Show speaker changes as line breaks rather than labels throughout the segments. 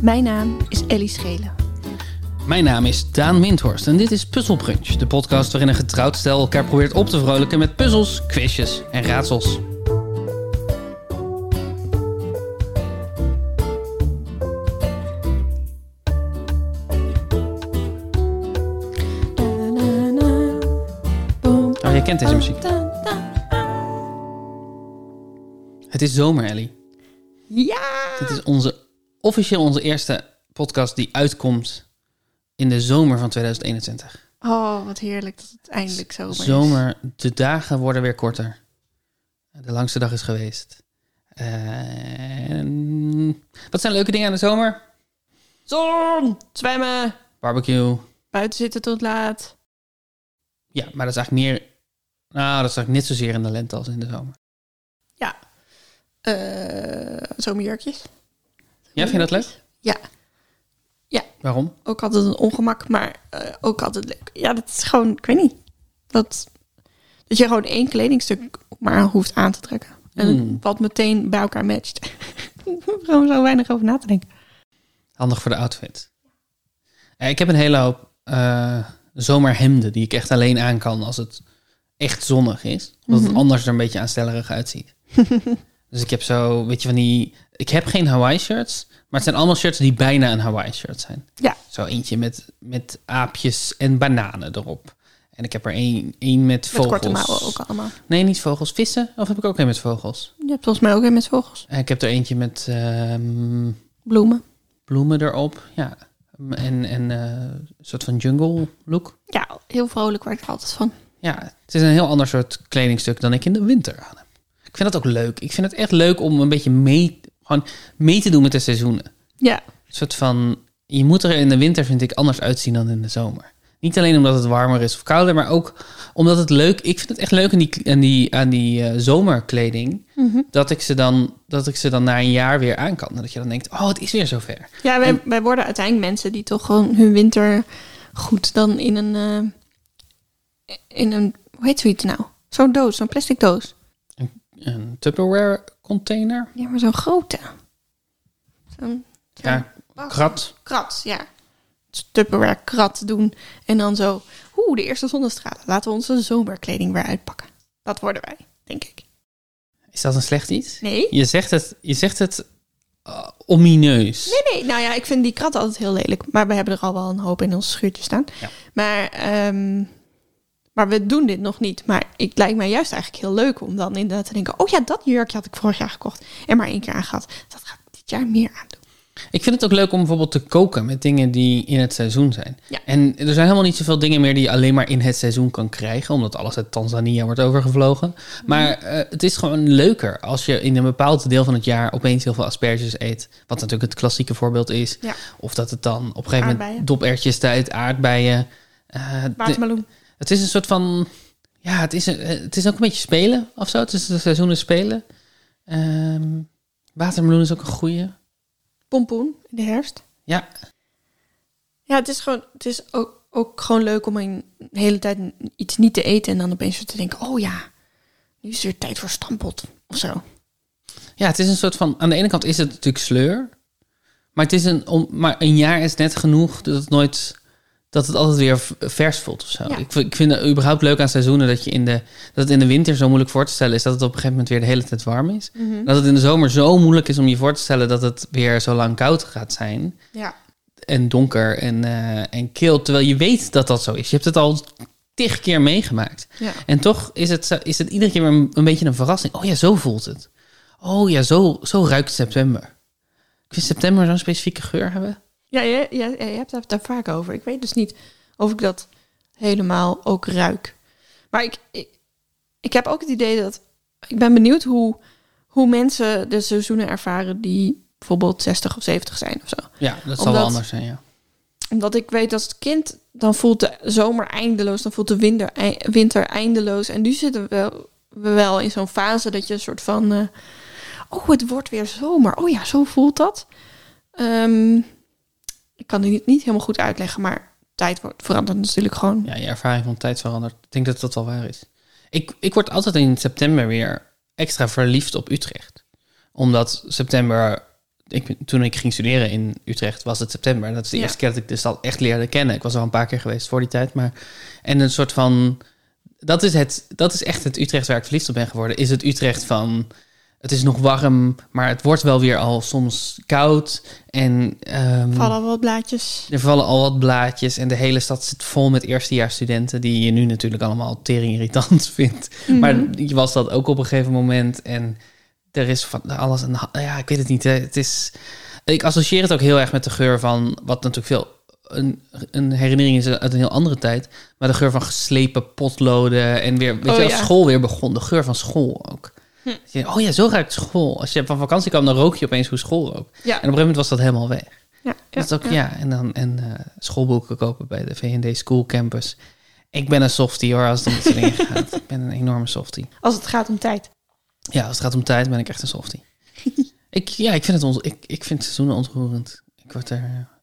Mijn naam is Ellie Schelen.
Mijn naam is Daan Windhorst en dit is Puzzle Brunch, de podcast waarin een getrouwd stel elkaar probeert op te vrolijken met puzzels, quizjes en raadsels. Oh, je kent deze muziek. Het is zomer, Ellie.
Ja!
Dit is onze, officieel onze eerste podcast die uitkomt in de zomer van 2021.
Oh, wat heerlijk dat het eindelijk zomer is.
Zomer, de dagen worden weer korter. De langste dag is geweest. En... Wat zijn leuke dingen aan de zomer?
Zon! Zwemmen!
Barbecue.
Buiten zitten tot laat.
Ja, maar dat is eigenlijk meer... Nou, dat is eigenlijk net zozeer in de lente als in de zomer.
Eh, zomerjurkjes.
Ja, vind je dat leuk?
Ja.
Waarom?
Ook altijd een ongemak, maar eh, ook altijd leuk. Ja, dat is gewoon, ik weet niet. Dat, dat je gewoon één kledingstuk maar hoeft aan te trekken. En
Hmm.
wat meteen bij elkaar matcht. Ik hoef er gewoon zo weinig over na te denken.
Handig voor de outfit. Eh, Ik heb een hele hoop eh, zomerhemden die ik echt alleen aan kan als het echt zonnig is. Omdat
Mhm.
het anders er een beetje aanstellerig uitziet. dus ik heb zo, weet je van die... Ik heb geen Hawaii shirts, maar het zijn allemaal shirts die bijna een Hawaii shirt zijn.
Ja.
Zo eentje met, met aapjes en bananen erop. En ik heb er één, één met
Met
vogels.
korte mouwen ook allemaal.
Nee, niet vogels. Vissen? Of heb ik ook een met vogels?
Je hebt volgens mij ook een met vogels.
En ik heb er eentje met... ehm,
Bloemen.
bloemen erop. Ja. En, en eh, een soort van jungle look.
Ja, heel vrolijk word ik er altijd van.
Ja, het is een heel ander soort kledingstuk dan ik in de winter aan heb. Ik vind dat ook leuk. Ik vind het echt leuk om een beetje mee, gewoon mee te doen met de seizoenen.
Ja,
Een soort van, je moet er in de winter, vind ik, anders uitzien dan in de zomer. Niet alleen omdat het warmer is of kouder, maar ook omdat het leuk... Ik vind het echt leuk aan die, aan die, aan die eh, zomerkleding... dat, ik ze dan, dat ik ze dan na een jaar weer aan kan. En dat je dan denkt, oh, het is weer zover.
ja wij, wij worden uiteindelijk mensen die toch gewoon hun winter goed dan in een... eh, in een hoe heet zoiets nou? Zo'n doos, zo'n plastic doos.
Een Tupperware container...
Ja, maar zo'n grote. Zo'n zo'n
Ja,
bak-
krat.
krat, ja. Tupperware krat doen. En dan zo, oeh, de eerste zonnestralen. Laten we onze zomerkleding weer uitpakken. Dat worden wij, denk ik.
Is dat een slecht iets?
Nee?
Je zegt het, je zegt het eh, omineus.
Nee, nee, nou ja, ik vind die krat altijd heel lelijk. Maar we hebben er al wel een hoop in ons schuurtje staan.
Ja.
Maar, ehm, maar we doen dit nog niet. Maar het lijkt mij juist eigenlijk heel leuk om dan inderdaad te denken... oh ja, dat jurkje had ik vorig jaar gekocht en maar één keer aangehad. Dat ga ik dit jaar meer aandoen.
Ik vind het ook leuk om bijvoorbeeld te koken met dingen die in het seizoen zijn.
Ja.
En er zijn helemaal niet zoveel dingen meer die je alleen maar in het seizoen kan krijgen, omdat alles uit Tanzania wordt overgevlogen.
Mhm.
Maar eh, het is gewoon leuker als je in een bepaald deel van het jaar opeens heel veel asperges eet, wat natuurlijk het klassieke voorbeeld is.
Ja.
Of dat het dan op een gegeven
Aardbeien.
moment dopertjes tijd, aardbeien. eh, de-
Watermeloen.
Het is een soort van. Ja, het is, een, het is ook een beetje spelen of zo. Het is de seizoenen spelen. Ehm watermeloen is ook een goeie.
Pompoen in de herfst.
Ja,
Ja, het is, gewoon, het is ook, ook gewoon leuk om een hele tijd iets niet te eten... en dan opeens zo te denken, oh ja, nu is het weer tijd voor stampot of zo.
ja, het is een soort van. Aan de ene kant is het natuurlijk sleur. Maar, het is een, om, maar een jaar is net genoeg dat het nooit. Dat het altijd weer v- vers voelt of zo.
Ja.
Ik, v- ik vind het überhaupt leuk aan seizoenen dat, je in de, dat het in de winter zo moeilijk voor te stellen is dat het op een gegeven moment weer de hele tijd warm is. Dat het in de zomer zo moeilijk is om je voor te stellen dat het weer zo lang koud gaat zijn.
Ja.
en donker en, eh, en kil. Terwijl je weet dat dat zo is. Je hebt het al tig keer meegemaakt.
ja.
En toch is het, zo- is het iedere keer weer een, een beetje een verrassing. Oh ja, zo voelt het. Oh ja, zo, zo ruikt september. Ik vind september zo'n specifieke geur hebben.
Ja, je, ja, ja, je hebt het daar vaak over. Ik weet dus niet of ik dat helemaal ook ruik. Maar ik, ik, ik heb ook het idee dat... Ik ben benieuwd hoe, hoe mensen de seizoenen ervaren die bijvoorbeeld 60 of 70 zijn of zo.
Ja, dat zal
Omdat-
wel anders zijn, ja.
Omdat ik weet als het kind, dan voelt de zomer eindeloos, dan voelt de winter, ei- winter eindeloos. En nu zitten we wel, we wel in zo'n fase dat je een soort van, eh, oh het wordt weer zomer. Oh ja, zo voelt dat. Ehm, ik kan het niet, niet helemaal goed uitleggen, maar tijd wordt veranderd natuurlijk gewoon.
Ja, je ervaring van tijd verandert. Ik denk dat dat wel waar is. Ik, ik word altijd in september weer extra verliefd op Utrecht. Omdat september ik, toen ik ging studeren in Utrecht was het september. Dat is de
Ja.
eerste keer dat ik de stad echt leerde kennen. Ik was er al een paar keer geweest voor die tijd. Maar, en een soort van... Dat is, het, dat is echt het Utrecht waar ik verliefd op ben geworden. Is het Utrecht van... Het is nog warm, maar het wordt wel weer al soms koud. En ehm,
Vallen wel wat blaadjes.
er vallen al wat blaadjes. En de hele stad zit vol met eerstejaarsstudenten... die je nu natuurlijk allemaal tering irritant vindt.
Mhm.
Maar je was dat ook op een gegeven moment. En er is van alles aan de hand. Ja, ik weet het niet. hè. Het is, ik associeer het ook heel erg met de geur van... wat natuurlijk veel een, een herinnering is uit een heel andere tijd. Maar de geur van geslepen potloden. En weer, weet
Oh,
je, als
ja.
school weer begon. De geur van school ook.
Hm.
Dat je, Oh ja, zo ruikt school. Als je van vakantie kwam, dan rook je opeens hoe school rook. En op
ja,
een gegeven moment was dat helemaal weg.
ja,
Dat is ook, ja. En dan en, eh, schoolboeken kopen bij de VND School Campus. Ik ben een softie hoor, als het om dit soort dingen gaat. Ik ben een enorme softie.
Als het gaat om tijd.
Ja, als het gaat om tijd ben ik echt een softie. ik, ja, ik vind, het ons, ik, ik vind seizoenen ontroerend. Ik word er... eh,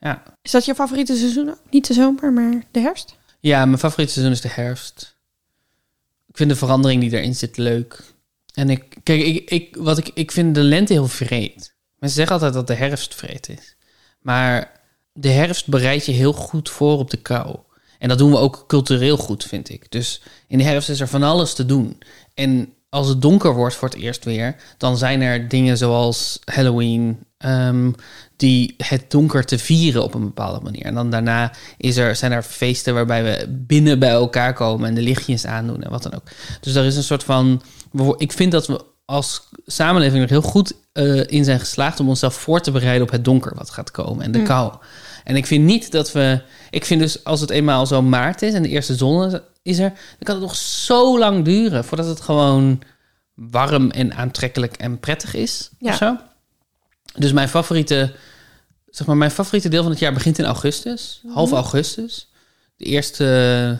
Ja.
Is dat je favoriete seizoen? ook? Niet de zomer, maar de herfst?
ja, mijn favoriete seizoen is de herfst. Ik vind de verandering die erin zit leuk. En ik, kijk, ik, ik, wat ik, ik vind de lente heel vreed. Mensen zeggen altijd dat de herfst vreed is. Maar de herfst bereidt je heel goed voor op de kou. En dat doen we ook cultureel goed, vind ik. Dus in de herfst is er van alles te doen. En als het donker wordt voor het eerst weer, dan zijn er dingen zoals Halloween, ehm, die het donker te vieren op een bepaalde manier. En dan daarna is er, zijn er feesten waarbij we binnen bij elkaar komen en de lichtjes aandoen en wat dan ook. Dus er is een soort van. Ik vind dat we als samenleving er heel goed eh, in zijn geslaagd om onszelf voor te bereiden op het donker wat gaat komen en de kou. En ik vind niet dat we. Ik vind dus als het eenmaal zo maart is en de eerste zon is- is er, dan kan het nog zo lang duren voordat het gewoon warm en aantrekkelijk en prettig is.
Ja.
Of zo. Dus mijn favoriete, zeg maar, mijn favoriete deel van het jaar begint in augustus, half augustus. De eerste,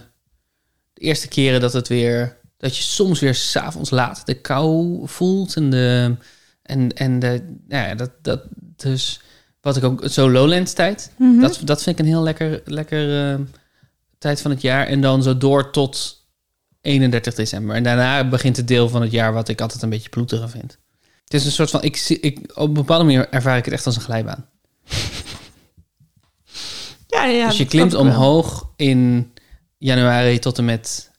de eerste keren dat het weer, dat je soms weer s'avonds laat de kou voelt en de, en, en de, nou ja, dat, dat, dus wat ik ook, zo Lowlands tijd,
Mhm.
dat, dat vind ik een heel lekker, lekker eh, tijd van het jaar. En dan zo door tot 31 december. En daarna begint het deel van het jaar wat ik altijd een beetje ploeterig vind. Het is een soort van, ik, zie- ik, op een bepaalde manier ervaar ik het echt als een glijbaan.
Ja, ja,
dus je
dat snap
klimt
ik wel.
omhoog in januari tot en met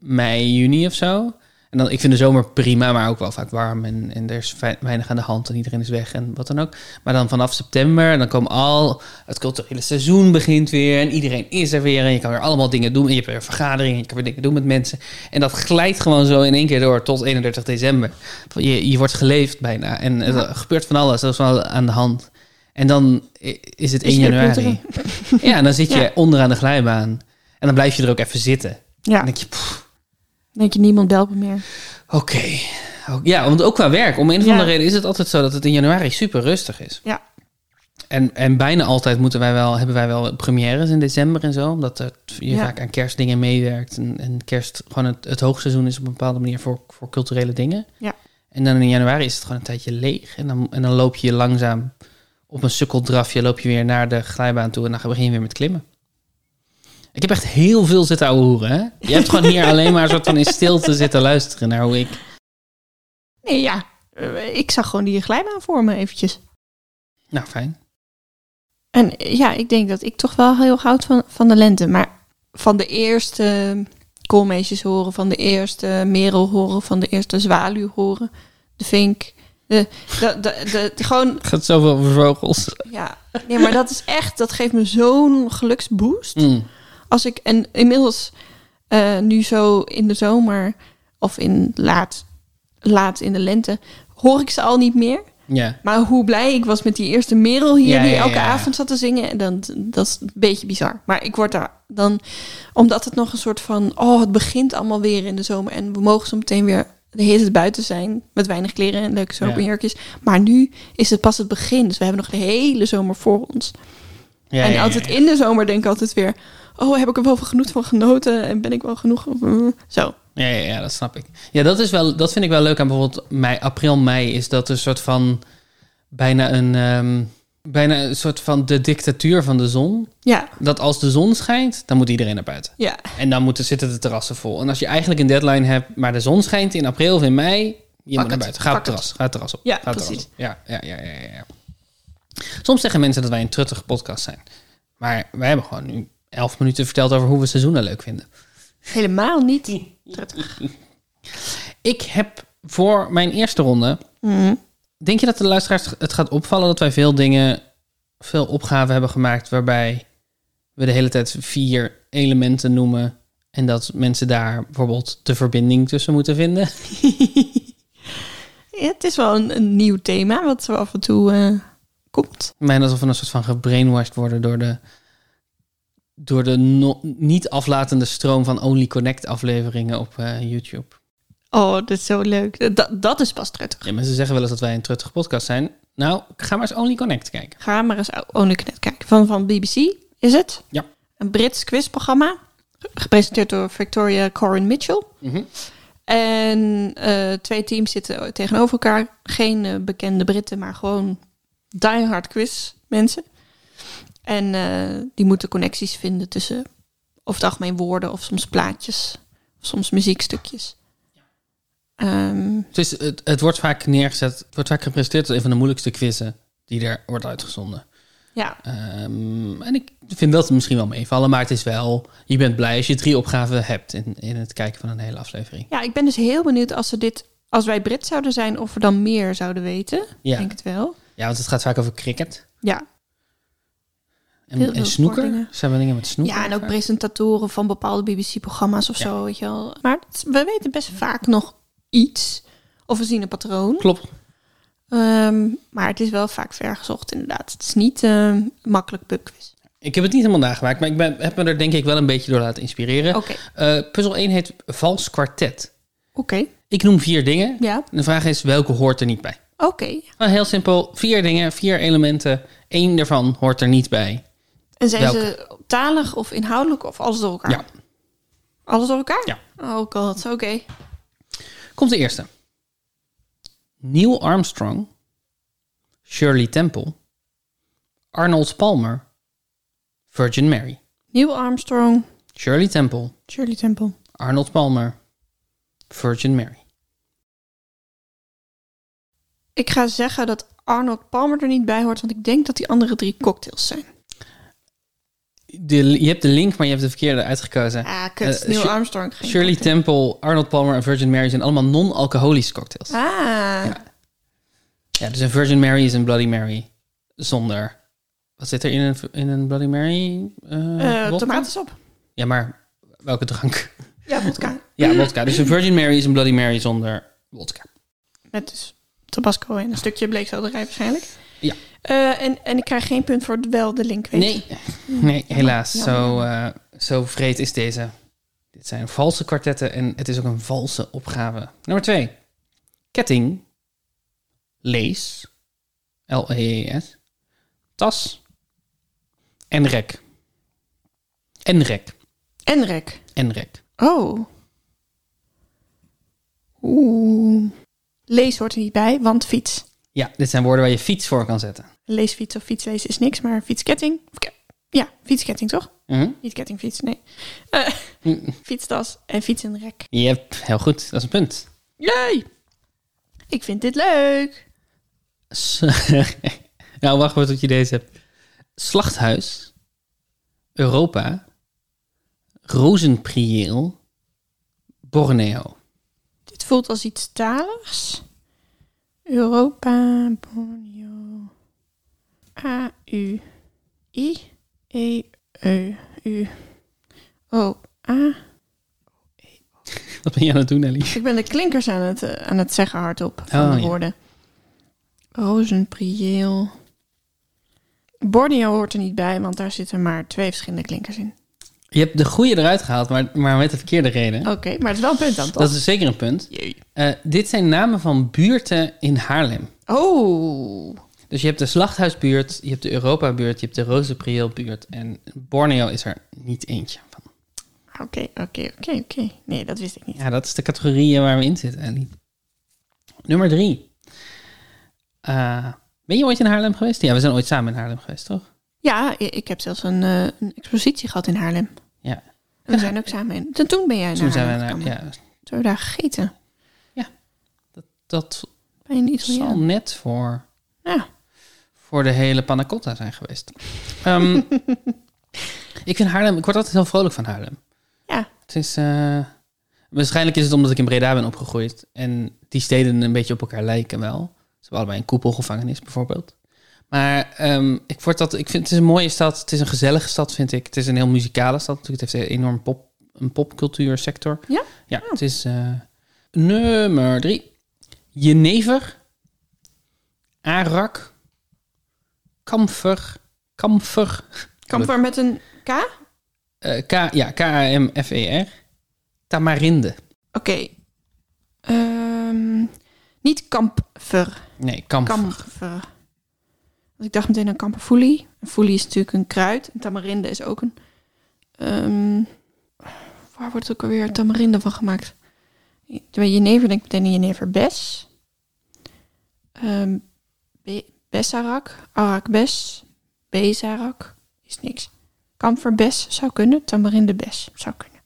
mei, juni of zo. En dan, ik vind de zomer prima, maar ook wel vaak warm. En, en er is fei- weinig aan de hand en iedereen is weg en wat dan ook. Maar dan vanaf september, en dan komen al... Het culturele seizoen begint weer en iedereen is er weer. En je kan weer allemaal dingen doen. En je hebt weer vergaderingen en je kan weer dingen doen met mensen. En dat glijdt gewoon zo in één keer door tot 31 december. Je, je wordt geleefd bijna. En er gebeurt van alles. Er is van alles aan de hand. En dan i- is het
Is
1
het weer
januari. Ja, en dan zit je
Ja.
onderaan de glijbaan. En dan blijf je er ook even zitten. En
Ja,
dan denk je, pff,
denk je niemand belt me meer.
Oké. Ook- Ja, want ook qua werk. Om een of
Ja.
andere reden is het altijd zo dat het in januari super rustig is.
Ja.
En, en bijna altijd moeten wij wel, hebben wij wel premières in december en zo. Omdat het, je
Ja.
vaak aan kerstdingen meewerkt. En, en kerst gewoon het, het hoogseizoen is op een bepaalde manier voor, voor culturele dingen.
Ja.
En dan in januari is het gewoon een tijdje leeg. En dan, en dan loop je langzaam op een sukkeldrafje loop je weer naar de glijbaan toe. En dan begin je weer met klimmen. Ik heb echt heel veel zitten ouwehoeren, hè? Je hebt gewoon hier alleen maar een soort van in stilte zitten luisteren naar hoe ik
Nee, ja. Eh, Ik zag gewoon die glijbaan voor me eventjes.
Nou, fijn.
En eh, ja, ik denk dat ik toch wel heel erg houd van, van de lente. Maar van de eerste koolmeisjes horen, van de eerste merel horen, van de eerste zwaluw horen, de vink. De, de, de, de- de- gewoon,
Het gaat zoveel over vogels.
ja. Nee, maar dat is echt, dat geeft me zo'n geluksboost.
Mm.
als ik en inmiddels eh, nu zo in de zomer of in laat, laat in de lente hoor ik ze al niet meer.
Ja.
Maar hoe blij ik was met die eerste merel hier
Ja,
die
ja, ja.
elke avond zat te zingen, dan, dat is een beetje bizar. Maar ik word daar dan omdat het nog een soort van oh het begint allemaal weer in de zomer en we mogen zo meteen weer de hele tijd buiten zijn met weinig kleren en leuke zomerjurkjes. Maar nu is het pas het begin, dus we hebben nog de hele zomer voor ons
ja
en altijd in de zomer denk ik altijd weer... Oh, heb ik er wel van genoeg van genoten? En ben ik wel genoeg... Zo.
Ja, ja, ja, dat snap ik. Ja, dat, is wel, dat vind ik wel leuk aan bijvoorbeeld mei, april, mei. Is dat een soort van bijna een, ehm, bijna een soort van de dictatuur van de zon.
Ja,
Dat als de zon schijnt, dan moet iedereen naar buiten.
ja,
En dan moeten, zitten de terrassen vol. En als je eigenlijk een deadline hebt, maar de zon schijnt in april of in mei, je moet naar
het,
buiten. Ga op
pak
het terras. Ga het terras op.
Ja,
Ga het terras
precies.
op. Ja, ja, ja, ja, ja, ja. Soms zeggen mensen dat wij een truttige podcast zijn. Maar wij hebben gewoon nu elf minuten verteld over hoe we seizoenen leuk vinden.
Helemaal niet. Prettig.
Ik heb voor mijn eerste ronde...
Mhm.
Denk je dat de luisteraars het gaat opvallen dat wij veel dingen... veel opgaven hebben gemaakt waarbij we de hele tijd vier elementen noemen... en dat mensen daar bijvoorbeeld de verbinding tussen moeten vinden?
Ja, het is wel een, een nieuw thema wat zo af en toe eh, komt.
Mijn alsof we een soort van gebrainwashed worden door de, door de no- niet aflatende stroom van Only Connect afleveringen op eh, YouTube.
Oh, dat is zo leuk. Dat, dat is pas prettig.
Ja, mensen zeggen wel eens dat wij een truttige podcast zijn. Nou, ga maar eens Only Connect kijken.
Ga maar eens Oniknet kijken. Van, van BBC is het.
Ja.
Een Brits quizprogramma. Gepresenteerd door Victoria Corin Mitchell. En eh, twee teams zitten tegenover elkaar. Geen eh, bekende Britten, maar gewoon diehard quiz mensen. En eh, die moeten connecties vinden tussen over het algemeen woorden of soms plaatjes. Of soms muziekstukjes. Ehm,
Dus het, het wordt vaak neergezet, het wordt vaak gepresenteerd als een van de moeilijkste quizzen die er wordt uitgezonden.
ja,
Ehm, en ik vind dat misschien wel meevallen, maar het is wel, je bent blij als je drie opgaven hebt in, in het kijken van een hele aflevering.
Ja, ik ben dus heel benieuwd als, ze dit, als wij Brit zouden zijn, of we dan meer zouden weten. Ik
Ja,
denk het wel.
ja want het gaat vaak over cricket.
Ja. Heel
En,
veel
en snoeker?
sportdingen.
Zijn we dingen met snoeker?
ja, en ook
vaak?
presentatoren van bepaalde BBC-programma's of zo, weet je wel. Maar het- we weten best vaak nog iets. Of we zien een patroon.
Klopt.
Ehm, maar het is wel vaak vergezocht, inderdaad. Het is niet ehm, makkelijk pubquiz.
Ik heb het niet helemaal nagemaakt, maar ik ben, heb me er denk ik wel een beetje door laten inspireren.
Oké,
Eh, puzzel 1 heet Vals kwartet.
oké.
Ik noem vier dingen.
Ja,
En de vraag is, welke hoort er niet bij?
oké.
Nou, heel simpel, vier dingen, vier elementen. Eén daarvan hoort er niet bij.
En zijn
Welke?
ze talig of inhoudelijk of alles door elkaar?
Ja.
Alles door elkaar?
Ja.
Oh god, oké.
Komt de eerste. Neil Armstrong, Shirley Temple, Arnold Palmer, Virgin Mary.
Neil Armstrong,
Shirley Temple,
Shirley Temple.
Arnold Palmer, Virgin Mary.
Ik ga zeggen dat Arnold Palmer er niet bij hoort, want ik denk dat die andere drie cocktails zijn.
De, je hebt de link, maar je hebt de verkeerde uitgekozen.
Ah, kut.
Eh,
Neil
Shir-
Armstrong. geen
Shirley
cocktail.
Temple, Arnold Palmer en Virgin Mary zijn allemaal non-alcoholische cocktails.
Ah,
Ja, dus een Virgin Mary is een Bloody Mary zonder... Wat zit er in een, in een Bloody Mary? eh,
Eh
vodka?
tomatensap.
Ja, maar welke drank?
Ja, vodka.
Ja, wodka. Dus een Virgin Mary is een Bloody Mary zonder wodka.
Met dus tabasco en een stukje bleekselderij waarschijnlijk.
Ja.
Eh, en, en ik krijg geen punt voor het wel de link weten.
Nee, nee helaas.
Ja.
Zo, eh zo vreed is deze. Dit zijn valse kwartetten en het is ook een valse opgave. Nummer twee. Ketting. Lees. L-E-E-S. Tas. En rek. En rek.
En rek.
En rek.
Oh. Oeh. Lees hoort er niet bij, want fiets.
Ja, dit zijn woorden waar je fiets voor kan zetten.
Leesfiets of fietslezen is niks, maar fietsketting. Of ke- ja, fietsketting toch?
Mhm.
Niet kettingfiets, nee. Eh, fietstas en fiets in de rek.
Yep, heel goed. Dat is een punt.
Jee! Ik vind dit leuk.
S- nou, wacht maar tot je deze hebt. Slachthuis, Europa, Rozenprieel, Borneo.
Dit voelt als iets taligs. Europa, Borneo. A, U, I, E, E, U. O, A.
Wat ben je aan het doen, Ellie?
Ik ben de klinkers aan het, eh, aan het zeggen hardop van
Oh,
de
ja.
woorden. Rozenprieel. Borneo hoort er niet bij, want daar zitten maar twee verschillende klinkers in.
Je hebt de goede eruit gehaald, maar, maar met de verkeerde reden.
Oké, maar het is wel een punt dan, toch?
Dat is zeker een punt. Eh, dit zijn namen van buurten in Haarlem.
Oh.
Dus je hebt de Slachthuisbuurt, je hebt de Europabuurt, je hebt de Rozenprieelbuurt. En Borneo is er niet eentje van.
Oké, oké, oké, oké. Nee, dat wist ik niet.
Ja, dat is de categorie eh, waar we in zitten, Ellie. Nummer drie. Eh, ben je ooit in Haarlem geweest? Ja, we zijn ooit samen in Haarlem geweest, toch?
Ja, i- ik heb zelfs een, eh, een expositie gehad in Haarlem.
Ja.
En we zijn ook samen in. Toen, toen ben jij naar
Toen
Haarlem
zijn we naar,
gekomen.
ja,
Toen hebben we daar gegeten.
dat dat
Bij een
zal
Italiaan.
net voor,
Ja.
voor de hele panna cotta zijn geweest. Ehm, ik vind Haarlem, ik word altijd heel vrolijk van Haarlem.
Ja.
Het is, eh, waarschijnlijk is het omdat ik in Breda ben opgegroeid en die steden een beetje op elkaar lijken wel. Ze hebben allebei een koepelgevangenis bijvoorbeeld. Maar ehm, ik, word dat, ik vind het is een mooie stad, het is een gezellige stad vind ik. Het is een heel muzikale stad natuurlijk, het heeft een enorm pop, een popcultuursector.
Ja? Ah.
Ja, het is eh, nummer drie. Jenever, Arak, Kamfer, Kamfer,
Kamper met een K? Oké.
eh, K, ja, K-A-M-F-E-R. E Tamarinde.
Ehm, niet kampver.
Nee, kamfer.
Kamper. eh, Want ik dacht meteen aan kamperfoelie. En foelie is natuurlijk een kruid. En tamarinde is ook een... ehm, waar wordt ook alweer tamarinde van gemaakt? Bij jenever denk ik meteen aan jeneverbes. Ehm, be- Bessarak. Arakbes. Bezarak. Is niks. Kamferbes zou kunnen. Tamarindebes zou kunnen.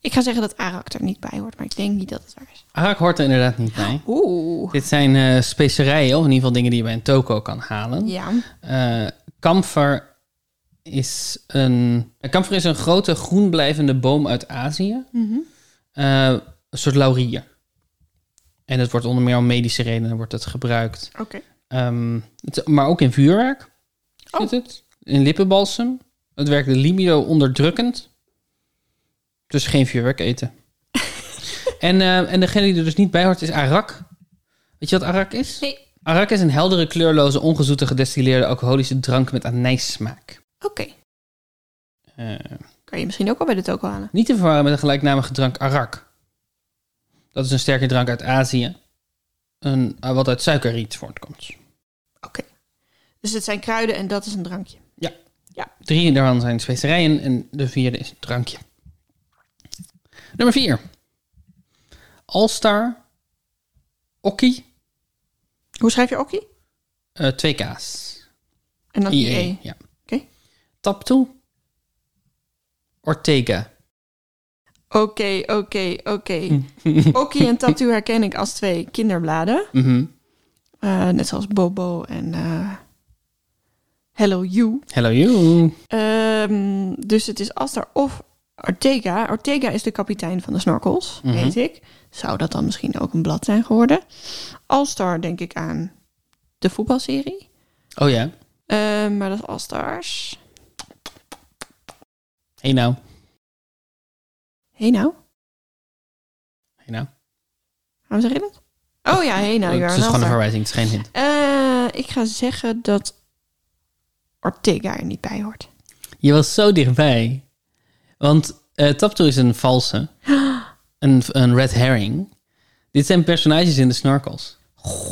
Ik ga zeggen dat arak er niet bij hoort. Maar ik denk niet dat het waar is.
Arak hoort er inderdaad niet bij.
Oeh.
Dit zijn eh, specerijen, of in ieder geval dingen die je bij een toko kan halen.
Ja.
Eh, kamfer is een... eh, Kamfer is een grote groenblijvende boom uit Azië.
Mhm.
Eh, een soort laurier. En het wordt onder meer om medische redenen wordt het gebruikt.
Oké.
Ehm, het- maar ook in vuurwerk
Oh.
zit het. In lippenbalsem. Het werkt de libido onderdrukkend. Dus geen vuurwerk eten. en, eh, en degene die er dus niet bij hoort is arak. Weet je wat arak is?
Nee.
Arak is een heldere, kleurloze, ongezoete, gedestilleerde alcoholische drank met anijssmaak.
Oké.
Eh,
Kan je misschien ook al bij de toko halen.
niet te verwarren met de gelijknamige drank arak. Dat is een sterke drank uit Azië. Een, eh, wat uit suikerriet voortkomt.
Dus het zijn kruiden en dat is een drankje.
Drie daarvan zijn specerijen en de vierde is het drankje. Nummer vier. Alstar. Okkie.
Hoe schrijf je okkie?
eh, twee K's.
En dan IE.
IE. Ja.
E. Oké.
Taptoe. Ortega.
Oké, oké,
Hm.
oké. Okkie en tattoo herken ik als twee kinderbladen.
Mhm.
Eh, net zoals Bobo en eh, Hello You.
Hello you.
Ehm, dus het is Aster of Ortega. Ortega is de kapitein van de snorkels,
Mhm.
weet ik. Zou dat dan misschien ook een blad zijn geworden? Alstar denk ik aan de voetbalserie.
Oh ja.
Eh, maar dat is Alstars.
Hey nou.
Hé hey nou,
Hey nou.
waarom zeg je dat? Oh ja, hé nou, je
het
waren
is gewoon een
Alstar.
verwijzing. Het is geen hint.
Eh, ik ga zeggen dat Ortega er niet bij hoort.
Je was zo dichtbij. Want eh Taptoe is een valse. Een, een red herring. Dit zijn personages in de snorkels.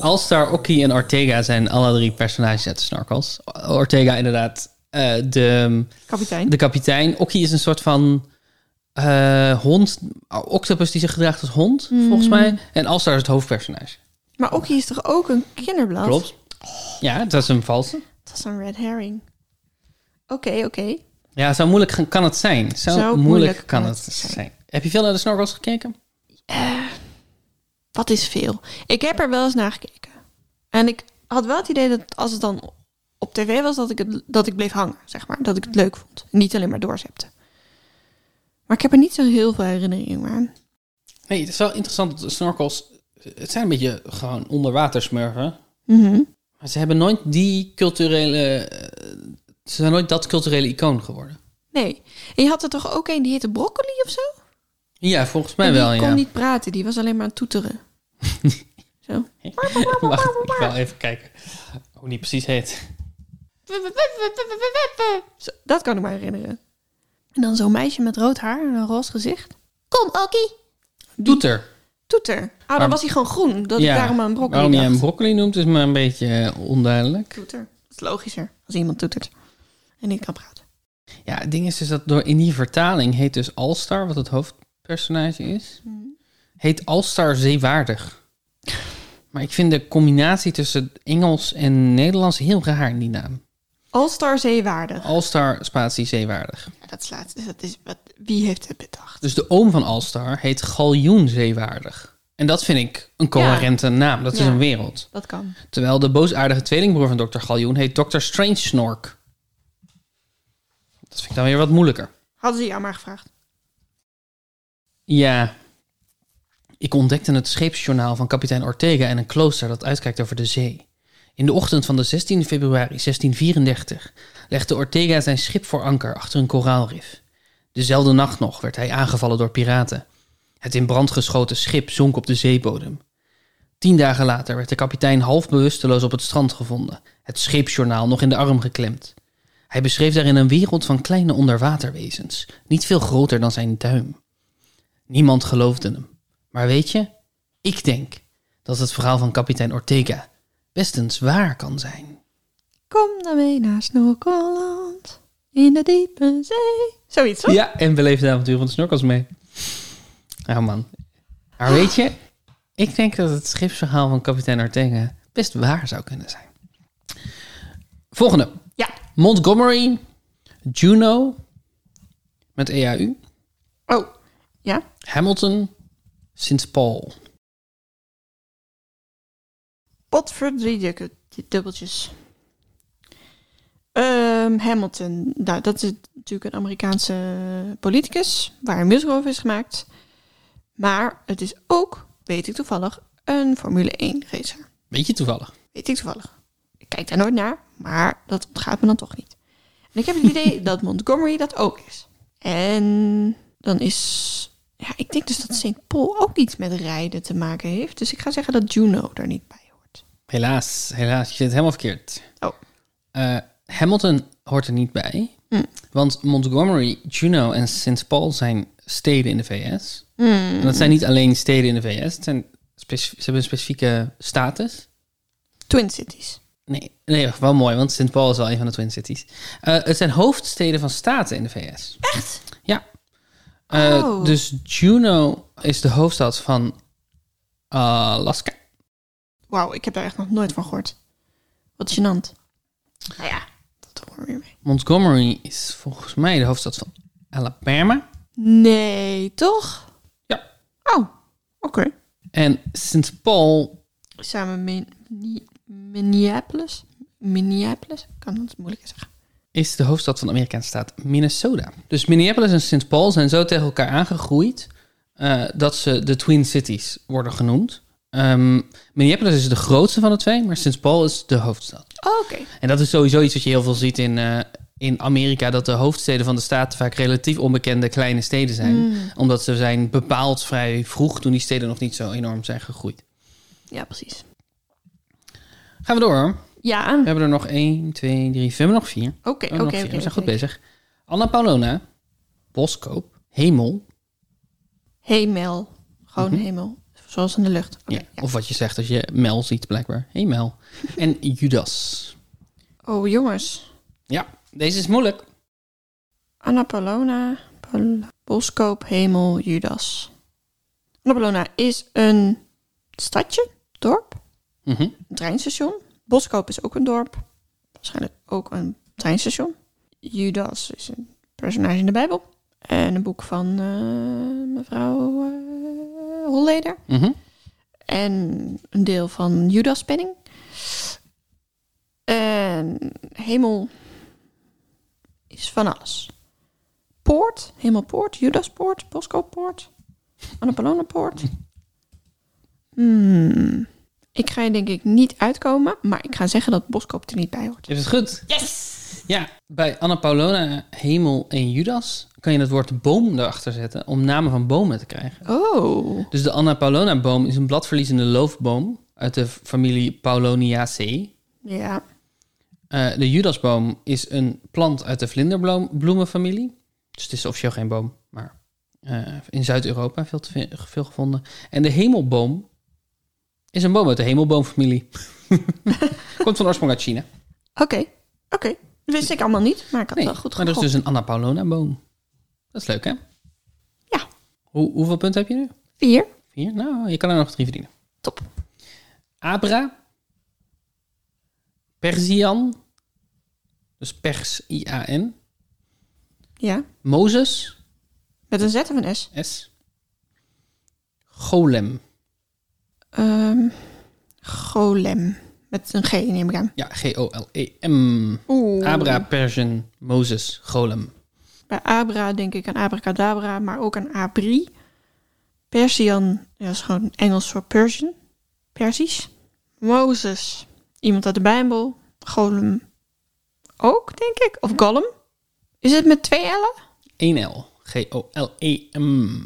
Alstar, Okkie en Ortega zijn alle drie personages uit de snorkels. Ortega inderdaad eh, de,
Kapitein.
de kapitein. Okkie is een soort van eh, hond. Octopus die zich gedraagt als hond, volgens mij. En Alstar is het hoofdpersonage.
Maar Okkie is toch ook een kinderblad?
Klopt? Ja, dat is een valse.
Dat is een red herring. Oké, oké.
Ja, zo moeilijk gaan- kan het zijn. Zo, moeilijk, kan het zijn. Heb je veel naar de snorkels gekeken?
Wat is veel? Ik heb er wel eens naar gekeken. En ik had wel het idee dat als het dan op tv was, dat ik, het, dat ik bleef hangen, zeg maar. Dat ik het leuk vond. Niet alleen maar doorzepte. Maar ik heb er niet zo heel veel herinneringen aan.
Nee, het is wel interessant dat de snorkels... Het zijn een beetje gewoon onderwatersmurven.
Mhm.
Maar ze hebben nooit die culturele... eh, Ze zijn nooit dat culturele icoon geworden.
Nee. En je had er toch ook een die heette broccoli of zo?
Ja, volgens mij
En
wel,
die
ja.
kon niet praten, die was alleen maar aan het toeteren. Zo.
Wacht, ik wil even kijken hoe die precies heet.
Zo, Dat kan ik me herinneren. En dan zo'n meisje met rood haar en een roze gezicht. Kom, Okie.
Toeter.
Toeter. Ah, dan
Maar-
was hij gewoon groen. Dat
Ja,
ik daarom aan broccoli
Waarom je
dacht.
hem broccoli noemt is maar een beetje eh, onduidelijk.
Toeter. Dat is logischer als iemand toetert. En niet kan praten.
Ja, het ding is dus dat door in die vertaling heet dus Alstar, wat het hoofdpersonage is, heet Alstar zeewaardig. Maar ik vind de combinatie tussen Engels en Nederlands heel raar in die naam.
All-star zeewaardig.
Alstar spatie zeewaardig.
Ja, dat slaat. Dat is wat, wie heeft het bedacht?
Dus de oom van Alstar heet Galjoen zeewaardig. En dat vind ik een coherente naam. Dat is
Ja.
een wereld.
Dat kan.
Terwijl de boosaardige tweelingbroer van Dr. Galjoen heet Dr. Strange Snork. Dat vind ik dan weer wat moeilijker.
Hadden ze jou maar gevraagd.
Ja. Ik ontdekte het scheepsjournaal van kapitein Ortega en een klooster dat uitkijkt over de zee. In de ochtend van de 16 februari 1634 legde Ortega zijn schip voor anker achter een koraalrif. Dezelfde nacht nog werd hij aangevallen door piraten. Het in brand geschoten schip zonk op de zeebodem. Tien dagen later werd de kapitein half bewusteloos op het strand gevonden, het scheepsjournaal nog in de arm geklemd. Hij beschreef daarin een wereld van kleine onderwaterwezens, niet veel groter dan zijn duim. Niemand geloofde hem. Maar weet je, ik denk dat het verhaal van kapitein Ortega bestens waar kan zijn.
Kom dan mee naar Snorkeland. In de diepe zee. Zoiets, toch?
Ja, en beleef de avontuur van de snorkels mee. Nou man. Maar weet je, ik denk dat het schipsverhaal van kapitein Ortega best waar zou kunnen zijn. Volgende.
Ja.
Montgomery, Juno, met EAU,
Oh. Ja?
Hamilton, St. Paul.
Potverdrie dubbeltjes. Ehm, Hamilton, nou, dat is natuurlijk een Amerikaanse politicus waar een musical over is gemaakt. Maar het is ook, weet ik toevallig, een Formule 1 racer.
Beetje toevallig.
Weet ik toevallig. Ik kijk daar nooit naar, maar dat ontgaat me dan toch niet. En ik heb het idee dat Montgomery dat ook is. En dan is, ja, ik denk dus dat St. Paul ook iets met rijden te maken heeft. Dus ik ga zeggen dat Juno er niet bij hoort.
Helaas, helaas. Je zit helemaal verkeerd.
Oh.
Eh, Hamilton hoort er niet bij.
Hm.
Want Montgomery, Juneau en St. Paul zijn steden in de VS.
Hmm.
En dat
Hm.
zijn niet alleen steden in de VS. Het zijn specif- ze hebben een specifieke status.
Twin Cities.
Nee, nee, wel mooi, want St. Paul is wel een van de Twin Cities. Eh, het zijn hoofdsteden van staten in de VS.
Echt?
Ja. Eh,
Oh.
Dus Juneau is de hoofdstad van Alaska.
Wauw, ik heb daar echt nog nooit van gehoord. Wat gênant. Nou ja, dat hoor weer mee.
Montgomery is volgens mij de hoofdstad van Alabama.
Nee, toch?
Ja.
Oh, oké.
En St. Paul,
Samen min- ni- Minneapolis. Minneapolis? Ik kan het moeilijker zeggen.
is de hoofdstad van de Amerikaanse staat Minnesota. Dus Minneapolis en St. Paul zijn zo tegen elkaar aangegroeid eh, dat ze de Twin Cities worden genoemd. Ehm, Minneapolis is de grootste van de twee, maar St. Paul is de hoofdstad.
Oh, oké.
En dat is sowieso iets wat je heel veel ziet in, eh, in Amerika, dat de hoofdsteden van de staten vaak relatief onbekende kleine steden zijn. Omdat ze zijn bepaald vrij vroeg toen die steden nog niet zo enorm zijn gegroeid.
Ja, precies.
Gaan we door.
Ja,
We hebben er nog 1, 2, 3, we hebben er nog vier.
oké,
Oh, nog
oké,
vier.
oké.
we zijn goed
oké.
bezig. Anna Paulona, Boskoop, Hemel,
Hemel. Gewoon hemel. Zoals in de lucht. Oké,
Mhm. ja,
ja.
of wat je zegt als je Mel ziet blijkbaar, Hemel. en Judas.
Oh, jongens.
Ja, deze is moeilijk.
Anna Paulona, Paul- Boskoop, Hemel, Judas. Anna Paulona is een stadje, dorp.
Mhm.
een treinstation. Boskoop is ook een dorp. Waarschijnlijk ook een treinstation. Judas is een personage in de Bijbel. En een boek van eh, mevrouw eh, Holleder.
mhm.
En een deel van Judas Penning. En hemel is van alles. Poort, hemelpoort, Judaspoort, Boskooppoort, Annapollonapoort. Hmm. Ik ga je denk ik niet uitkomen, maar ik ga zeggen dat Boskoop er niet bij hoort.
Je hebt het goed.
Yes!
Ja, bij Anna Paulona, Hemel en Judas kan je het woord boom erachter zetten om namen van bomen te krijgen.
Oh,
Dus de Anna Paulona boom is een bladverliezende loofboom uit de familie Pauloniaceae.
ja.
Eh, de Judasboom is een plant uit de vlinderbloemenfamilie. Dus het is officieel geen boom, maar eh, in Zuid-Europa veel, te ve- veel gevonden. En de hemelboom is een boom uit de hemelboomfamilie. Komt van oorsprong uit China.
Oké, oké. Dat wist ik allemaal niet, maar ik had
Nee,
wel goed
maar er is
gegokt.
dus een Anna Paulona boom. Dat is leuk, hè?
Ja.
Hoe, hoeveel punten heb je nu?
Vier.
Vier? Nou, je kan er nog drie verdienen.
Top.
Abra. Persian. Dus Pers, I-A-N.
Ja.
Mozes.
Met een Z of een S?
S. Golem.
ehm, Golem. Met een G neem ik aan.
Ja, G-O-L-E-M.
Oeh.
E Abra, Persian, Mozes, Golem.
Bij Abra denk ik aan abracadabra, maar ook aan Abri. Persian, ja, dat is gewoon Engels voor Persian. Persisch. Mozes, iemand uit de Bijbel. Golem ook, denk ik. Of Gollum. Is het met twee L'en?
1L. E G-O-L-E-M.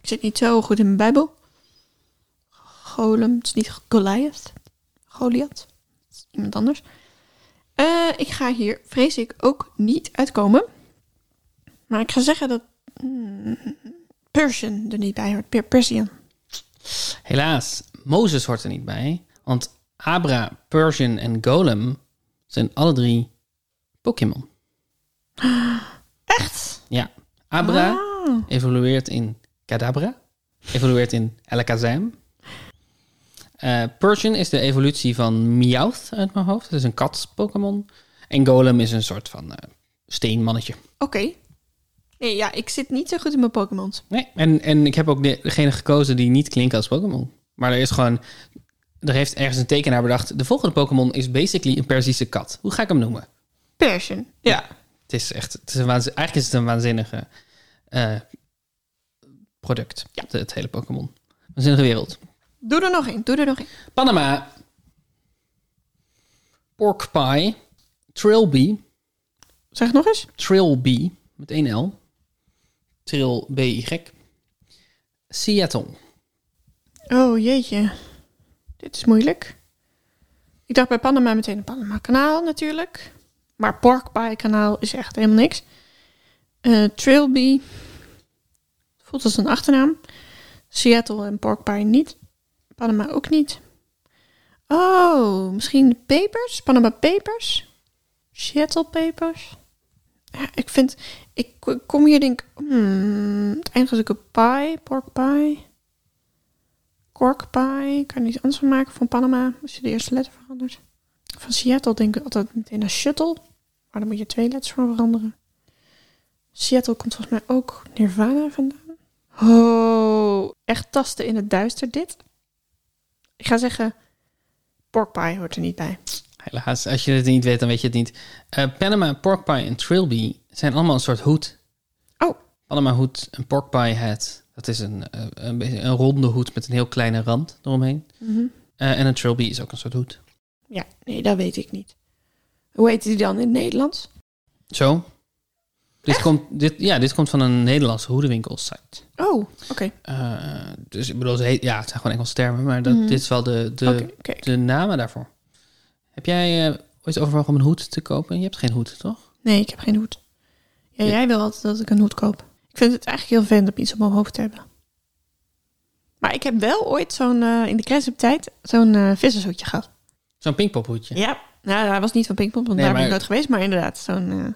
Ik zit niet zo goed in mijn Bijbel. Golem, het is niet Goliath. Goliath. Het is iemand anders. Eh, ik ga hier, vrees ik, ook niet uitkomen. Maar ik ga zeggen dat hmm, Persian er niet bij hoort. Per- Persian.
Helaas, Mozes hoort er niet bij. Want Abra, Persian en Golem zijn alle drie Pokémon.
Echt?
Ja. Abra
Ah.
evolueert in Kadabra. Evolueert in Alakazam. Eh, Persian is de evolutie van Meowth uit mijn hoofd. Dat is een kat-Pokémon. En Golem is een soort van eh, steenmannetje.
Oké. Nee, ja, ik zit niet zo goed in mijn Pokémon.
Nee, en, en ik heb ook de- degene gekozen die niet klinken als Pokémon. Maar er is gewoon... Er heeft ergens een tekenaar bedacht... De volgende Pokémon is basically een Persische kat. Hoe ga ik hem noemen?
Persian.
Ja. Het is echt... Het is een waanzin- eigenlijk is het een waanzinnige... eh, product. Ja. Het hele Pokémon. Waanzinnige wereld.
Doe er nog één. Doe er nog één.
Panama. Pork Pie. Trilby.
Zeg nog eens.
Trilby. Met één L. Trill B-Y. Seattle.
Oh jeetje. Dit is moeilijk. Ik dacht bij Panama meteen een Panama-kanaal natuurlijk. Maar Pork Pie kanaal is echt helemaal niks. Eh Trilby. Voelt als een achternaam. Seattle en Pork Pie niet. Panama ook niet. Oh, misschien de Papers? Panama Papers? Seattle Papers? Ja, ik vind... Ik k- kom hier denk ik... Hmm, het eindigt als ik op pie, pork pie korkpie. Kan er iets anders van maken van Panama. Als je de eerste letter verandert. Van Seattle denk ik altijd meteen naar shuttle. Maar dan moet je twee letters van veranderen. Seattle komt volgens mij ook Nirvana vandaan. Oh, echt tasten in het duister dit. Ik ga zeggen, pork pie hoort er niet bij.
Helaas, als je het niet weet, dan weet je het niet. Eh, Panama Pork Pie en Trilby zijn allemaal een soort hoed.
Oh.
Panama hoed, een pork pie hat. Dat is een, eh, een, beetje een ronde hoed met een heel kleine rand eromheen. Eh, en een Trilby is ook een soort hoed.
Ja, nee, dat weet ik niet. Hoe heet die dan in het Nederlands?
Zo. Dit komt, dit, ja, dit komt van een Nederlandse hoedenwinkelsite.
Oh, oké.
Eh, dus ik bedoel, ze heet, ja, het zijn gewoon Engelse termen, maar dat,
Mhm.
dit is wel de, de,
Oké, oké.
de namen daarvoor. Heb jij eh, ooit overwogen om een hoed te kopen? Je hebt geen hoed, toch?
Nee, ik heb geen hoed. Ja,
Ja.
jij wil altijd dat ik een hoed koop. Ik vind het eigenlijk heel vervelend om iets op mijn hoofd te hebben. Maar ik heb wel ooit zo'n, eh, in de crèzeptijd, zo'n eh vissershoedje gehad.
Zo'n pinkpophoedje.
Ja. Nou, dat was niet van Pinkpop, want
Nee,
daar ben ik
maar-
nooit geweest. Maar inderdaad, zo'n eh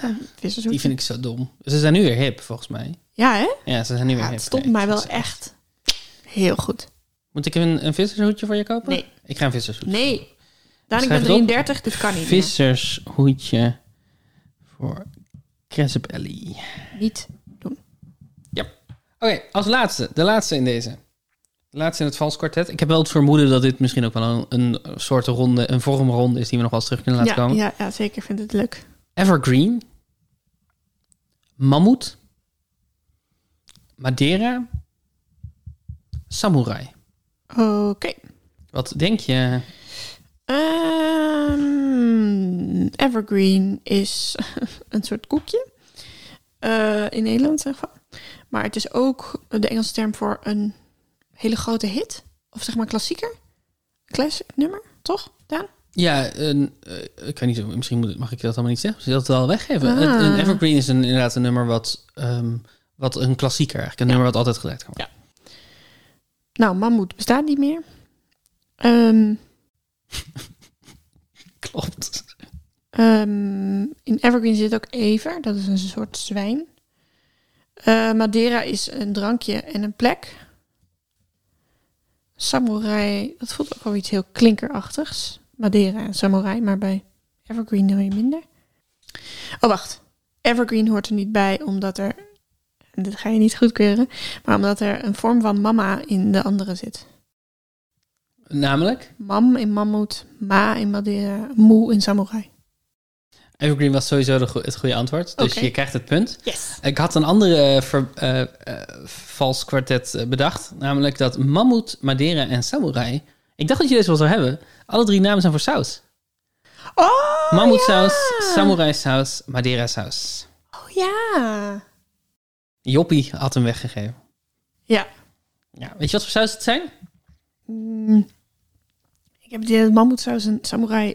zo'n vissershoedje.
Die vind ik zo dom. Ze zijn nu weer hip, volgens mij.
Ja, hè?
Ja, ze zijn nu weer
Ja,
hip.
het stond
Nee,
mij
ik
wel
vind ze-
echt heel goed.
Moet ik een, een vissershoedje voor je kopen?
Nee.
Ik ga een vissershoedje.
Nee. Daan, ik
Schrijf
ben
het op.
33, dit kan niet
Vissershoedje voor Cressup Ellie. Oké,
meer. Niet doen.
als laatste. De laatste in deze. De laatste in het vals kwartet. Ik heb wel het vermoeden dat dit misschien ook wel een, een soort ronde, een vormronde is die we nog wel eens terug kunnen laten
Ja,
komen.
ja, ja, zeker. Ik vind het leuk.
Evergreen. Mammoet. Madeira. Samurai.
Oké.
Wat denk je?
Ehm, evergreen is een soort koekje. Eh, in Nederland zeg maar. Maar het is ook de Engelse term voor een hele grote hit. Of zeg maar klassieker. Classic nummer, toch Daan?
Ja, een, eh, ik weet niet, misschien moet, mag ik dat allemaal niet zeggen. Ze dat wel weggeven.
Ah.
Een, een Evergreen is een, inderdaad een nummer wat, ehm, wat een klassieker eigenlijk. Een nummer wat altijd gedraaid kan worden.
Nou, mammoet bestaat niet meer. Ehm,
Klopt.
ehm, in evergreen zit ook ever. Dat is een soort zwijn. Eh, Madeira is een drankje en een plek. Samurai, dat voelt ook wel iets heel klinkerachtigs. Madeira en samurai, maar bij Evergreen doe je minder. Oh, wacht. Evergreen hoort er niet bij, omdat er... en Dit ga je niet goedkeuren. Maar omdat er een vorm van mama in de andere zit.
Namelijk,
Mam in mammoet, ma in Madeira, moe in samurai.
Evergreen was sowieso de go- het goede antwoord. Dus
Oké.
je krijgt het punt.
Yes.
Ik had een andere eh, ver- eh, eh, vals kwartet eh, bedacht. Namelijk dat Mammoet, Madeira en Samurai. Ik dacht dat je deze wel zou hebben. Alle drie namen zijn voor saus.
Oh,
Mammoet
ja.
saus, Samurai saus, Madeira saus.
Oh ja.
Joppie had hem weggegeven.
Ja.
Ja, weet je wat voor saus het zijn?
Mm. Ik heb het idee dat mammoetsaus en samurai...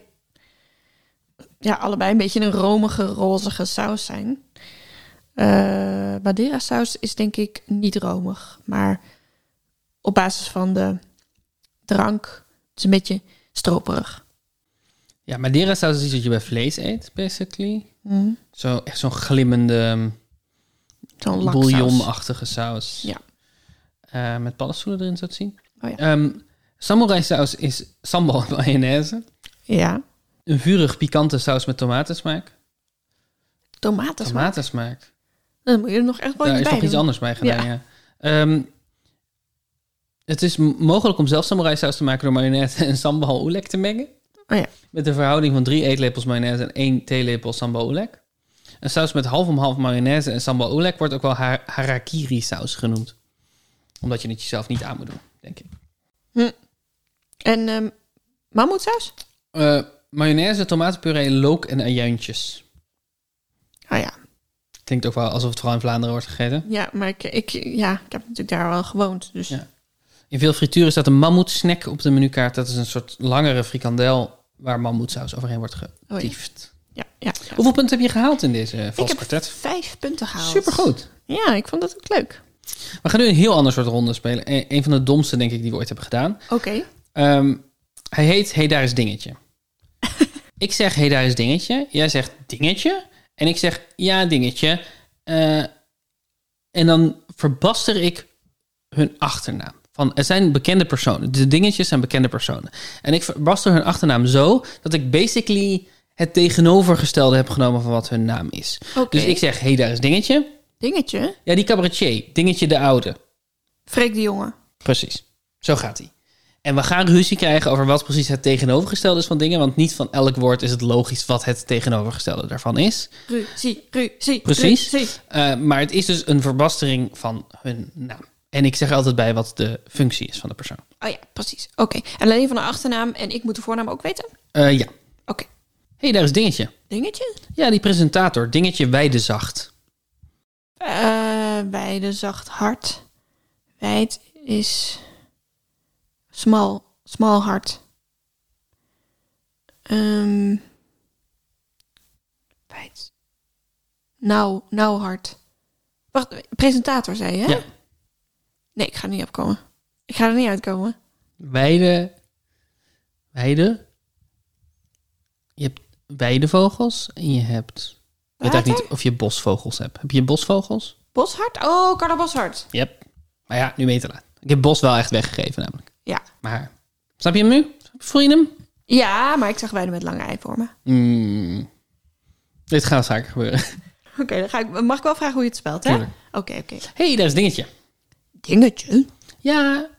Ja, allebei een beetje een romige, rozige saus zijn. Eh Madeira saus is denk ik niet romig. Maar op basis van de drank... Het is een beetje stroperig.
Ja, Madeira saus is iets wat je bij vlees eet, basically.
Mm.
Zo, echt zo'n glimmende ehm,
Zo'n laksaus.
bouillonachtige saus.
Ja.
Eh, met paddenstoelen erin, zo te zien.
Oh ja.
Ehm, samurai saus is sambal en mayonaise.
Ja.
Een vurig pikante saus met tomatensmaak.
Tomaten.
Tomatensmaak.
Dan moet je er nog echt wel
Daar
iets bij
Nou, is nog iets
doen.
anders bij gedaan, ja. Ehm, het is m- mogelijk om zelf samurai saus te maken door mayonaise en sambal oelek te mengen.
Oh ja.
Met een verhouding van drie eetlepels mayonaise en één theelepel sambal oelek. Een saus met half om half mayonaise en sambal oelek wordt ook wel ha- harakiri saus genoemd. Omdat je het jezelf niet aan moet doen, denk ik.
En ehm mammoetsaus?
Eh, mayonaise, tomatenpuree, look en ajuintjes.
Ah ja.
Klinkt ook wel alsof het vooral in Vlaanderen wordt gegeten.
Ja, maar ik, ik, ja, ik heb natuurlijk daar wel gewoond. Dus
Ja. In veel frituren staat een mammoetsnack op de menukaart. Dat is een soort langere frikandel waar mammoetsaus overheen wordt
ja.
getiefd.
ja, ja, Oh, ja.
Hoeveel punten heb je gehaald in deze eh,
Ik
vals
heb
kwartet?
vijf punten gehaald.
Supergoed.
Ja, ik vond dat ook leuk.
We gaan nu een heel ander soort ronde spelen. E- een van de domste, denk ik, die we ooit hebben gedaan.
Oké.
Ehm, hij heet Hey, daar is dingetje. ik zeg Hey, daar is dingetje. Jij zegt dingetje. En ik zeg ja, dingetje. Eh, en dan verbaster ik hun achternaam. Van, het zijn bekende personen. De dingetjes zijn bekende personen. En ik verbaster hun achternaam zo dat ik basically het tegenovergestelde heb genomen van wat hun naam is.
Oké.
Dus ik zeg, hey, daar is dingetje.
Dingetje.
Ja, die cabaretier. Dingetje de oude.
Freek de jongen.
Precies. Zo gaat hij. En we gaan ruzie krijgen over wat precies het tegenovergestelde is van dingen. Want niet van elk woord is het logisch wat het tegenovergestelde daarvan is.
Ruzie, ruzie,
Precies.
ruzie.
Eh, maar het is dus een verbastering van hun naam. En ik zeg er altijd bij wat de functie is van de persoon.
Oh ja, precies. Oké. En alleen van de achternaam en ik moet de voornaam ook weten? Oké.
Eh, ja. Hé, hey, daar is Dingetje.
Dingetje?
Ja, die presentator. Dingetje Weidezacht.
Eh wijde, zacht, hard. Wijd is smal, smal, hard. Ehm wijd. Nauw, nauw, hard. Wacht, presentator zei je, hè?
Ja.
Nee, ik ga er niet opkomen. Ik ga er niet uitkomen.
Weide. Weide. Je hebt weidevogels en je hebt... Ik weet eigenlijk niet of je bosvogels hebt. Heb je bosvogels?
Boshart? Oh, Carla Boshart.
Yep. Maar ja, nu ben je te laat. Ik heb Bos wel echt weggegeven namelijk.
Ja.
Maar snap je hem nu? Voel je hem?
Ja, maar ik zag wijde met lange ei voor me.
Mm. Dit gaat vaker gebeuren.
Oké, dan ga ik, mag ik wel vragen hoe je het spelt, hè? Oké,
Tuurlijk.
oké.
Hé, hey, daar is dingetje.
Dingetje.
Ja,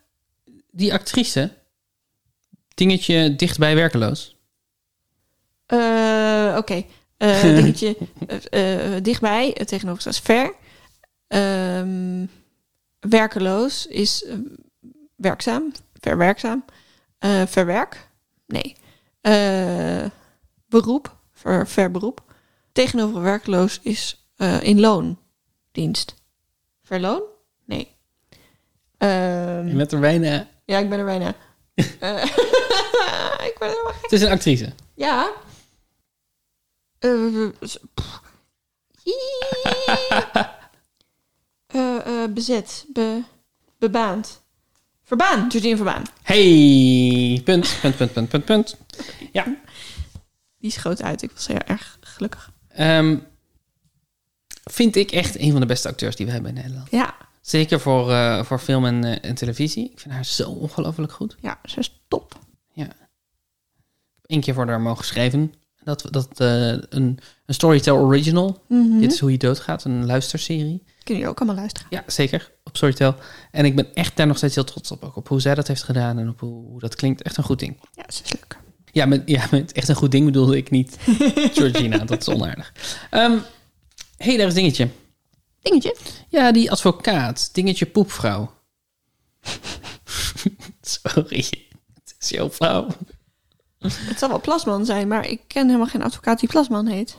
die actrice. Dingetje dichtbij werkeloos.
Eh, Oké. Eh, dingetje eh, eh, dichtbij, het tegenovergestelde is ver. Ehm, werkeloos is eh, werkzaam, verwerkzaam. Eh, verwerk? Nee. Eh, beroep, ver, verberoep. Tegenover werkeloos is eh, in loondienst. Verloon? Nee. Ehm,
Je bent er bijna...
ja, ik ben er bijna. Eh, ik ben er helemaal
Het is een actrice.
ja. Eh, s- pff. Iiii. Eh, eh, bezet. Be, bebaand. Verbaan. Jordien Verbaan.
Hey, punt, punt, punt, punt, punt, punt.
Die schoot uit. Ik was heel erg gelukkig.
Ehm, vind ik echt een van de beste acteurs die we hebben in Nederland.
Ja.
Zeker voor, eh, voor film en, eh, en televisie. Ik vind haar zo ongelooflijk goed.
Ja, ze is top.
Eén keer voor haar mogen schrijven. Dat, dat, eh, een, een Storytel Original.
Mhm.
Dit is hoe je doodgaat, een luisterserie.
Kunnen jullie ook allemaal luisteren?
Ja, zeker. Op Storytel. En ik ben echt daar nog steeds heel trots op. Ook op hoe zij dat heeft gedaan en op hoe, hoe dat klinkt. Echt een goed ding.
Ja, dat is leuk.
Ja, met, ja, met echt een goed ding bedoelde ik niet Georgina. dat is onaardig. Ehm, hey, daar is dingetje.
Dingetje.
Ja, die advocaat. Dingetje poepvrouw. Sorry. Het is heel flauw.
Het zal wel Plasman zijn, maar ik ken helemaal geen advocaat die Plasman heet.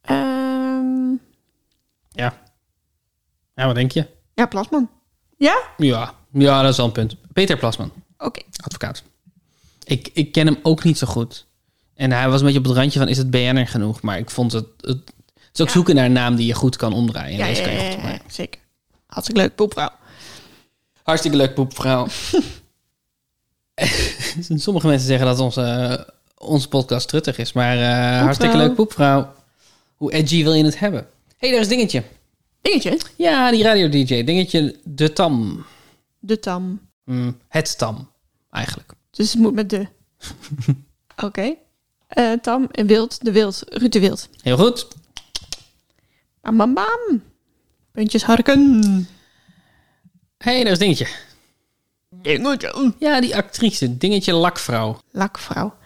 Ehm,
Ja. Ja, wat denk je?
ja, Plasman. Ja?
Ja, ja dat is wel een punt. Peter Plasman.
Oké.
advocaat. Ik, ik ken hem ook niet zo goed. En hij was een beetje op het randje van, is het BN'er genoeg? Maar ik vond het... Het, het is ook
Ja.
zoeken naar een naam die je goed kan omdraaien. En
Ja,
deze
ja,
kan je
ja,
goed
ja,
omdraaien.
ja, zeker. Hartstikke leuk, poepvrouw.
Hartstikke leuk, poepvrouw. Sommige mensen zeggen dat onze, onze podcast truttig is. Maar eh, hartstikke leuk, poepvrouw. Hoe edgy wil je het hebben? hey, daar is Dingetje.
Dingetje.
Ja, die radio-dj. Dingetje de Tam.
De tam.
Hm, het Tam, eigenlijk.
Dus het moet met de. Oké. Eh, tam en wild. De wild. Ruud de wild.
Heel goed.
Bam, bam, bam. Puntjes harken.
hey, daar is Dingetje.
Dingetje.
Ja, die actrice. Dingetje Lakvrouw.
Lakvrouw.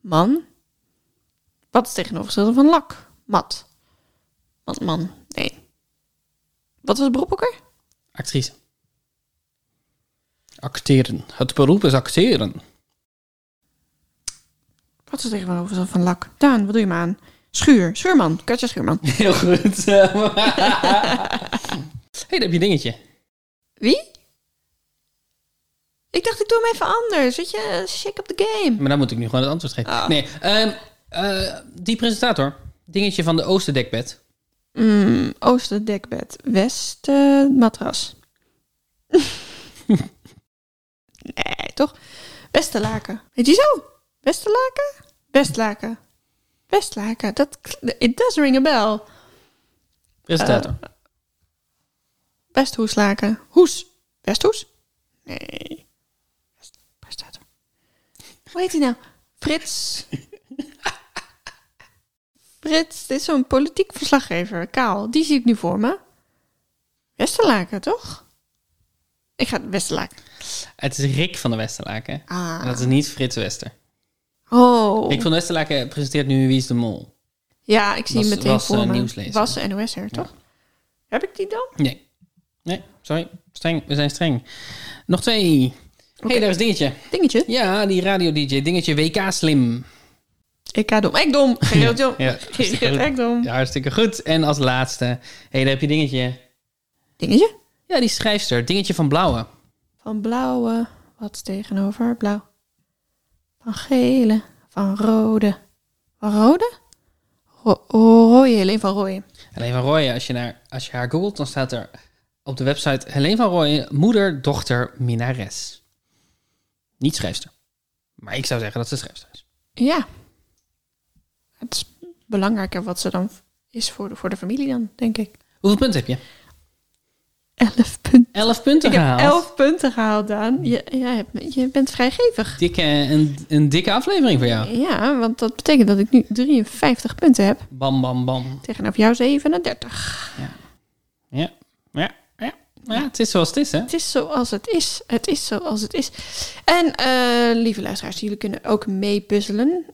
Man. Wat is het tegenovergestelde van lak? Mat. Mat, man. Nee. Wat was het beroep ook weer?
Actrice. Acteren. Het beroep is acteren.
Wat is het tegenovergestelde van lak? Daan, wat doe je me aan? Schuur. Schuurman. Katja Schuurman.
Heel goed. Hé, hey, daar heb je dingetje.
Wie? Ik dacht, ik doe hem even anders. Weet je, eh, shake up the game.
Maar dan moet ik nu gewoon het antwoord geven.
Ah.
Nee, ehm, eh, die presentator. Dingetje van de Oosterdekbed.
Mm, oosten dekbed, westen matras. nee, toch? Westenlaken. Heet die zo? Westenlaken? Westlaken. Westlaken. Dat, kl- it does ring a bell.
Presentator.
Ah. Westhoeslaken. Hoes. Westhoes? Nee. West- Prestator. Hoe heet hij nou? Frits. Frits, dit is zo'n politiek verslaggever. Kaal, die zie ik nu voor me. Westerlaken, toch? Ik ga Westerlaken.
Het is Rick van de Westerlaken. En
Ah.
dat is niet Frits Wester.
Oh.
Rick van de Westerlaken presenteert nu Wie is de Mol.
ja, ik zie hem
was-
meteen
was,
voor
eh,
me.
nieuwslezer.
Was de NOS'er, toch? Heb ik die dan?
Nee. Nee, sorry. Streng. We zijn streng. Nog twee. Hé, hey, daar is dingetje.
Dingetje.
Ja, die radio-dj. Dingetje WK Slim.
Ik dom. Ik dom. Gerald Jong.
Ja,
Gerald ik dom.
Ja, hartstikke goed. En als laatste, hé, daar heb je dingetje.
Dingetje.
Ja, die schrijfster, dingetje van Blauwe.
Van blauwe, wat is tegenover blauw? Van gele, van rode. Van rode? Ro oh, rooie, alleen van rooie.
Helene van Rooyen, als je, naar, als je haar googelt, dan staat er op de website Helene van Rooyen, moeder, dochter, minnares. Niet schrijfster. Maar ik zou zeggen dat ze schrijfster is.
Ja. Het is belangrijker wat ze dan is voor de, voor de familie dan, denk ik.
Hoeveel punten heb je?
Elf punten.
Elf punten
Ik heb
gehaald.
elf punten gehaald, Daan. Je, jij hebt, me- je bent vrijgevig.
Dikke, een, een dikke aflevering voor jou.
Ja, want dat betekent dat ik nu 53 punten heb.
Bam, bam, bam.
Tegenover jou 37.
Ja, ja, ja. ja het is zoals het is, hè?
Het is zoals het is. Het is zoals het is. En eh, lieve luisteraars, jullie kunnen ook meepuzzelen.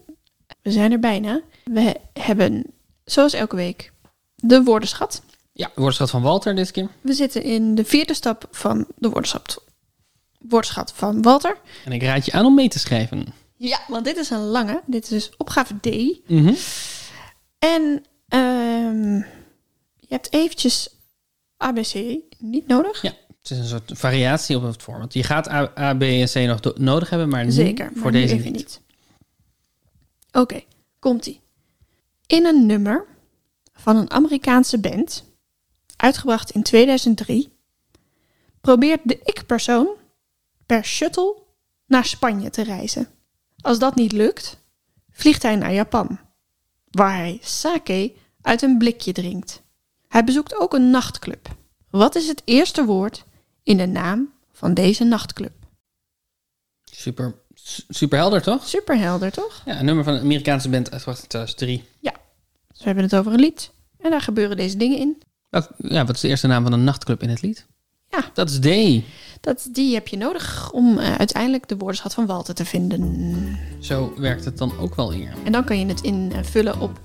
We zijn er bijna. We hebben, zoals elke week, de woordenschat.
Ja, woordenschat van Walter dit keer.
We zitten in de vierde stap van de woordenschat. Woordenschat van Walter.
En ik raad je aan om mee te schrijven.
Ja, want dit is een lange. Dit is dus opgave D.
Mhm.
En ehm, je hebt eventjes ABC niet nodig.
Ja, het is een soort variatie op het format. Je gaat A, A, B en C nog do- nodig hebben, maar nu
Zeker, maar
voor
nu
deze
even
niet.
niet. Oké, komt-ie. In een nummer van een Amerikaanse band, uitgebracht in 2003, probeert de ik-persoon per shuttle naar Spanje te reizen. Als dat niet lukt, vliegt hij naar Japan, waar hij sake uit een blikje drinkt. Hij bezoekt ook een nachtclub. Wat is het eerste woord in de naam van deze nachtclub?
Super, Su- Superhelder, toch?
Superhelder, toch?
Ja, een nummer van een Amerikaanse band uit wacht, 2003.
Dus we hebben het over een lied. En daar gebeuren deze dingen in.
Wat, ja, wat is de eerste naam van een nachtclub in het lied?
Ja.
Dat is Day.
Dat, die heb je nodig om eh, uiteindelijk de woordenschat van Walter te vinden.
Zo werkt het dan ook wel hier.
En dan kan je het invullen op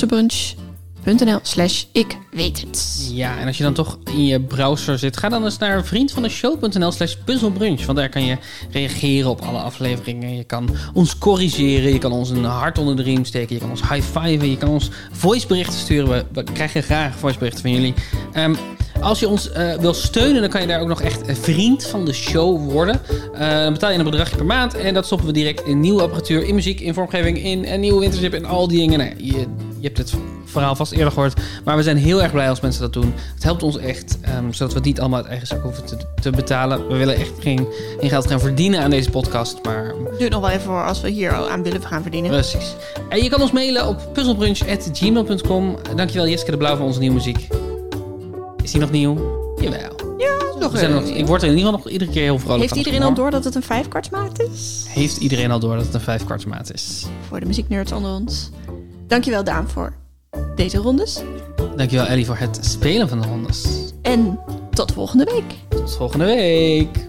www.pussenbrunch.nl slash ik weet het.
Ja, en als je dan toch in je browser zit, ga dan eens naar vriendvandeshow.nl slash puzzelbrunch. Want daar kan je reageren op alle afleveringen. Je kan ons corrigeren, je kan ons een hart onder de riem steken, je kan ons high-fiven, je kan ons voiceberichten sturen. We, we krijgen graag voiceberichten van jullie. Ehm, als je ons eh, wil steunen, dan kan je daar ook nog echt een vriend van de show worden. Eh, dan betaal je een bedragje per maand en dat stoppen we direct in nieuwe apparatuur, in muziek, in vormgeving, in een nieuwe wintership en al die dingen. Nou, je, je hebt het verhaal vast eerder gehoord, maar we zijn heel erg blij als mensen dat doen. Het helpt ons echt, ehm, zodat we het niet allemaal uit eigen zak hoeven te, te betalen. We willen echt geen, geen geld gaan verdienen aan deze podcast, maar
Duurt nog wel even voor als we hier al aan willen gaan verdienen.
precies. En je kan ons mailen op puzzelbrunch.gmail.com. Dankjewel Jessica de Blauw voor onze nieuwe muziek. Is die nog nieuw? Jawel.
Ja,
We zijn er nog, ik word er in ieder geval nog iedere keer heel vrolijk
Heeft
van.
iedereen al door dat het een vijfkwartsmaat is?
Heeft iedereen al door dat het een vijfkwartsmaat is?
Voor de muzieknerds onder ons. Dankjewel Daan voor deze rondes.
Dankjewel Ellie voor het spelen van de rondes.
En tot volgende week.
Tot volgende week.